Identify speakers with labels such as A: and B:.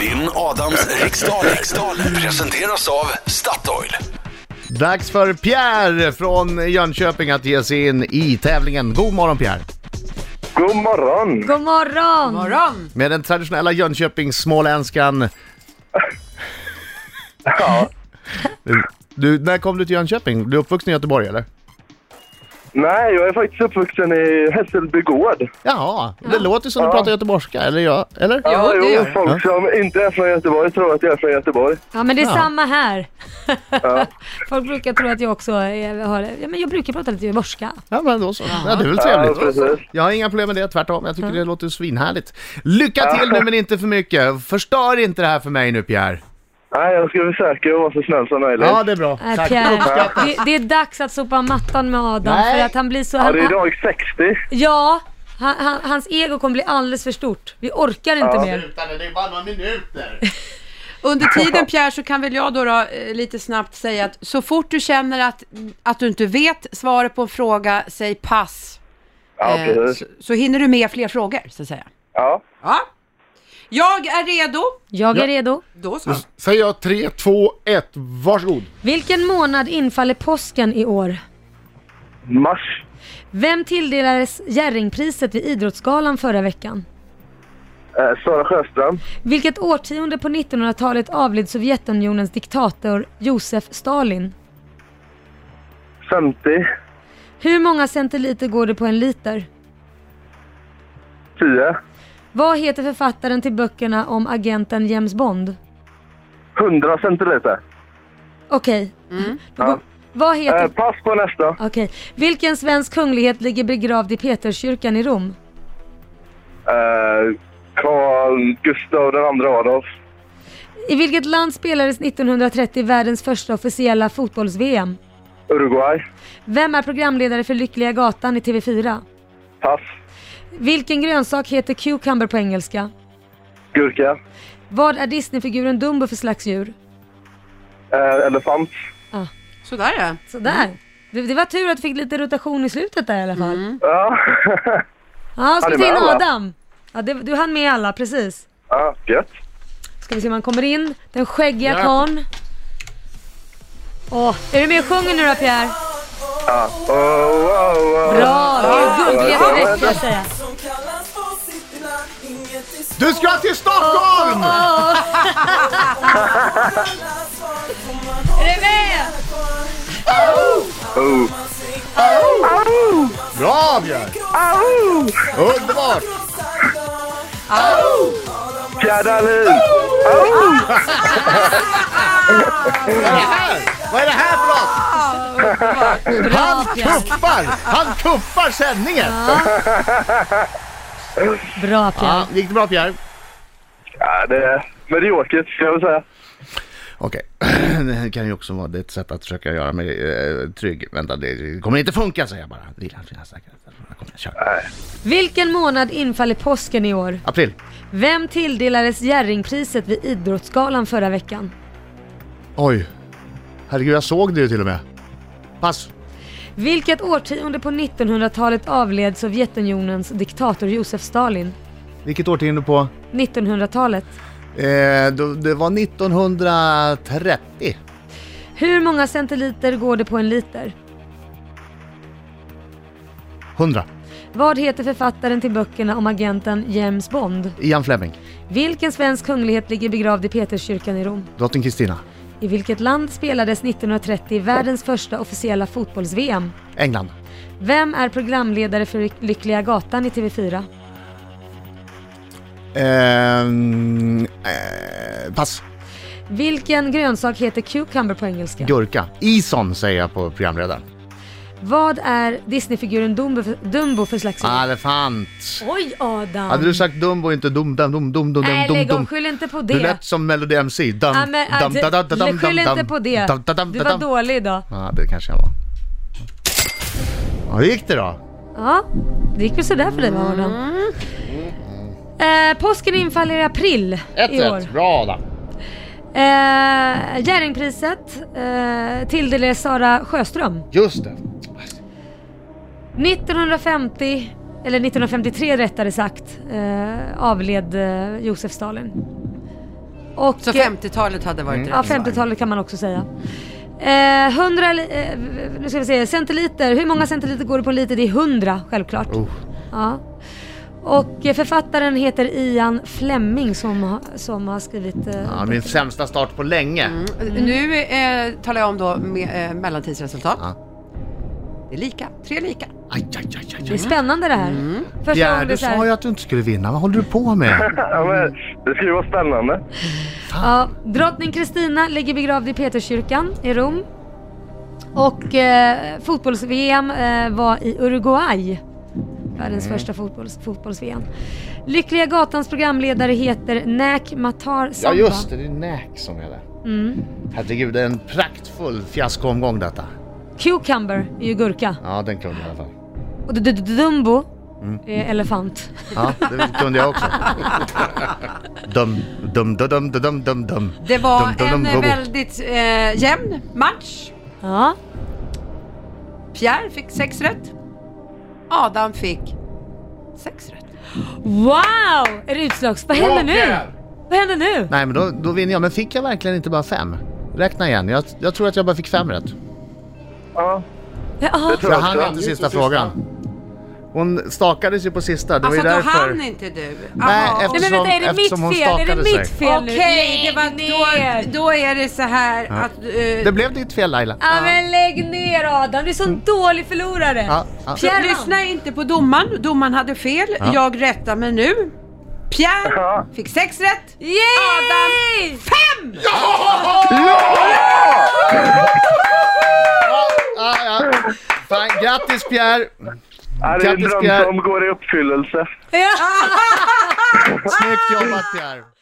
A: Vinn Adams riksdaler. riksdaler presenteras av Statoil.
B: Dags för Pierre från Jönköping att ge sig in i tävlingen. God morgon Pierre!
C: God morgon!
D: God morgon!
E: Morgon!
B: Med den traditionella Jönköpingssmåländskan.
C: Ja.
B: Du, du, när kom du till Jönköping? Du är uppvuxen i Göteborg eller?
C: Nej, jag är faktiskt uppvuxen i Hässelby gård.
B: Jaha, det låter som du
C: Ja.
B: pratar göteborgska, eller jag, eller?
E: Ja, det
C: jo,
E: gör
C: folk som inte är från Göteborg tror att jag är från Göteborg.
D: Ja men det är
B: Ja.
D: samma här.
C: Ja.
D: Folk brukar tro att jag också är, har, ja, men jag brukar prata lite göteborgska.
B: Ja men då så, ja, det är väl
C: Ja,
B: trevligt.
C: precis.
B: Jag har inga problem med det, tvärtom. Jag tycker det låter svinhärligt. Lycka till nu men inte för mycket. Förstör inte det här för mig nu Pierre.
C: Nej, jag ska försöka att vara så snäll som möjligt.
B: Ja det är bra.
D: Äh,
B: Tack.
D: Pierre,
C: Uppskattas.
D: det, det är dags att sopa mattan med Adam
B: Nej.
D: för att han blir så...
C: Ja,
D: Han,
C: det är dag 60.
D: ja, han, han, hans ego kommer bli alldeles för stort. Vi orkar inte
C: Ja.
D: mer.
B: Det är bara några minuter.
E: Under tiden Pierre så kan väl jag då, då eh, lite snabbt säga att så fort du känner att, att du inte vet svaret på en fråga, säg pass.
C: Ja,
E: Eh, så,
C: precis.
E: så hinner du med fler frågor så att säga.
C: Ja.
E: Ja. Jag är redo.
D: Jag är redo.
E: Då så.
F: Säger jag 3, 2, 1, varsågod.
D: Vilken månad infaller påsken i år?
C: Mars.
D: Vem tilldelades Jerringpriset vid Idrottsgalan förra veckan?
C: Eh, Sara Sjöström.
D: Vilket årtionde på 1900-talet avled Sovjetunionens diktator Josef Stalin?
C: 50.
D: Hur många centiliter går det på en liter?
C: 10.
D: Vad heter författaren till böckerna om agenten James Bond?
C: 100 centiliter.
D: Okej. Då
C: Ja.
D: går- Vad heter...
C: Eh, pass på nästa.
D: Okej. Vilken svensk kunglighet ligger begravd i Peterskyrkan i Rom?
C: Eh, Carl Gustav den andra Adolf.
D: I vilket land spelades 1930 världens första officiella fotbolls-VM?
C: Uruguay.
D: Vem är programledare för Lyckliga Gatan i TV4?
C: Pass.
D: Vilken grönsak heter cucumber på engelska?
C: Gurka.
D: Vad är Disneyfiguren Dumbo för slags djur?
C: Eh, elefant.
E: Sådär ja.
D: Sådär. Det, det var tur att du fick lite rotation i slutet där i alla fall.
C: Ja.
D: Ja,
C: Ja,
D: ska vi
C: det
D: ta in
C: var alla.
D: Adam. Ja, det, du hann med alla, precis.
C: ja, gött.
D: Ska vi se om han kommer in. Den skäggiga
F: Ja.
D: karln. Åh, är du med och sjunger nu då Pierre?
C: Ja. Oh, wow, wow.
D: Bra! Det är
C: Ja,
D: guldiga
C: ja,
D: rätt ska jag säga.
G: Som kallas för sitt namn, inget är svårt
F: Du ska till Stockholm!
G: att svara på. Man har
D: Är du med?
C: Oh.
G: man sig
F: Bra Björn! Underbart!
G: krossar dag.
C: Tja, Dahlin! Au!
F: Vad är det här? Vad är det här för något?
D: Bra Pierre!
F: Kuppar! Han kuppar sändningen!
D: Bra Pierre!
B: Ja, gick det bra Pierre?
C: Ja, det är mediokert, ska jag väl säga.
B: Okej, det här kan ju också vara det är ett sätt att försöka göra mig eh, trygg. Vänta, det kommer inte funka säger jag bara. Vila, vila, säkert. Kom, igen, kör.
D: Vilken månad infaller påsken i år?
B: April,
D: Vem tilldelades Jerringpriset vid Idrottsgalan förra veckan?
B: oj. Herregud, jag såg det ju till och med. Pass.
D: Vilket årtionde på 1900-talet avled Sovjetunionens diktator Josef Stalin?
B: Vilket årtionde på?
D: 1900-talet.
B: Eh, då- det var 1930.
D: Hur många centiliter går det på en liter?
B: 100.
D: Vad heter författaren till böckerna om agenten James Bond?
B: Ian Fleming.
D: Vilken svensk kunglighet ligger begravd i Peterskyrkan i Rom?
B: Drottning Kristina.
D: I vilket land spelades 1930 världens första officiella fotbolls-VM?
B: England.
D: Vem är programledare för Lyckliga Gatan i TV4?
B: Ehm, eh, pass.
D: Vilken grönsak heter cucumber på engelska?
B: Gurka. Ison säger jag på programledaren.
D: Vad är Disneyfiguren Dumbo för, Dumbo för slags djur?
B: Elefant.
D: Oj Adam!
B: Ah. Hade du sagt Dumbo inte dum dum dum dum dum
D: Nej,
B: dum
D: lägg
B: dum
D: av, skyll inte på
B: Du
D: det.
B: lät som Melody MC. Dum,
D: Ja, men,
B: dum,
D: äh,
B: da, da, da,
D: du-
B: dum,
D: Skyll
B: dum,
D: inte
B: dum.
D: på det.
B: Dum, da, dum,
D: Du
B: da,
D: var
B: dum.
D: dålig idag.
B: Ja, det kanske jag var. Ja, hur gick det då?
D: Ja, det gick väl sådär för dig va Adam? Eh, påsken infaller i april i år.
B: Bra Adam.
D: Eh, Jerringpriset eh, tilldelades Sara Sjöström.
B: Just det.
D: 1950, eller 1953 rättare sagt, eh, avled eh, Josef Stalin. Och,
E: Så 50-talet hade varit
B: Mm.
E: eh,
D: Ja,
E: rätt.
D: 50-talet kan man också säga. Eh, 100, li- eh, nu ska vi se, centiliter. Hur många centiliter går det på en liter? Det är 100 självklart. Ja. Och eh, författaren heter Ian Fleming som, ha- som har skrivit... Eh,
B: Ja, min sämsta start på länge.
D: Mm.
E: mm.
B: mm.
E: Nu eh, talar jag om då med, eh, mellantidsresultat.
B: Ja.
E: Det är lika, tre lika.
B: Aj, aj, aj, aj,
D: Det är
B: aj.
D: spännande det här. Första
B: Mm. Ja,
D: gången det
B: du
D: är så här-
B: sa ju att du inte skulle vinna. Vad håller du på med?
C: Ja, men, det ska ju vara spännande.
D: Ja, drottning Kristina ligger begravd i Peterskyrkan i Rom. Och eh, fotbolls-VM eh, var i Uruguay. Världens
B: Mm.
D: första fotbolls, fotbolls-VM. Lyckliga Gatans programledare heter Näk Matar
B: Ja
D: Samba.
B: just det, det är Näk som är där.
E: Mm.
B: Herregud, det är en praktfull fiaskoomgång detta.
D: Cucumber är ju gurka.
B: Ja, den kunde jag i alla fall.
D: Och d- d- d- Dumbo
B: Mm.
D: är elefant.
B: Ja, det kunde jag också. Dum, dum, dum, dum, dum, dum, dum.
E: Det var
B: Dum, dum, dum,
E: en eh,
B: dum.
E: väldigt eh, jämn match.
D: Ja.
E: Pierre fick sex rätt. Adam fick sex rätt.
D: Wow! Är det utslags? Vad händer nu? Vad händer nu?
B: Nej, men då, då vinner jag. Men fick jag verkligen inte bara fem? Räkna igen. Jag, jag tror att jag bara fick fem rätt.
C: Ja,
D: Ja.
C: det tror
B: Jag
C: jag
B: hann
C: också.
B: inte sista frågan. Hon stakades ju på sista. Det
E: Alltså
B: var
E: då
B: ju därför.
E: hann inte du.
B: Nej,
E: Jaha.
B: efter-
D: Nej men vänta, är det
B: Eftersom hon
D: mitt fel? Är det
B: stakade sig.
D: mitt fel nu?
E: Okej, det var
D: ner.
E: då, då är det så här att... eh,
B: Det blev ditt fel Laila.
D: Ja men lägg ner Adam, du är sån dålig förlorare.
B: Ja, ja.
D: Pierre
E: Lyssna inte på domaren. Domaren hade fel. Jag rättar mig nu. Pierre
C: Ja.
E: fick sex rätt.
D: Yay!
E: Fem!
B: Ja, ja. Fan, grattis Pierre!
C: Ja, det är en
B: Grattis,
C: dröm
B: Pierre.
E: Ah,
C: som går i uppfyllelse.
B: Snyggt jobbat Pierre!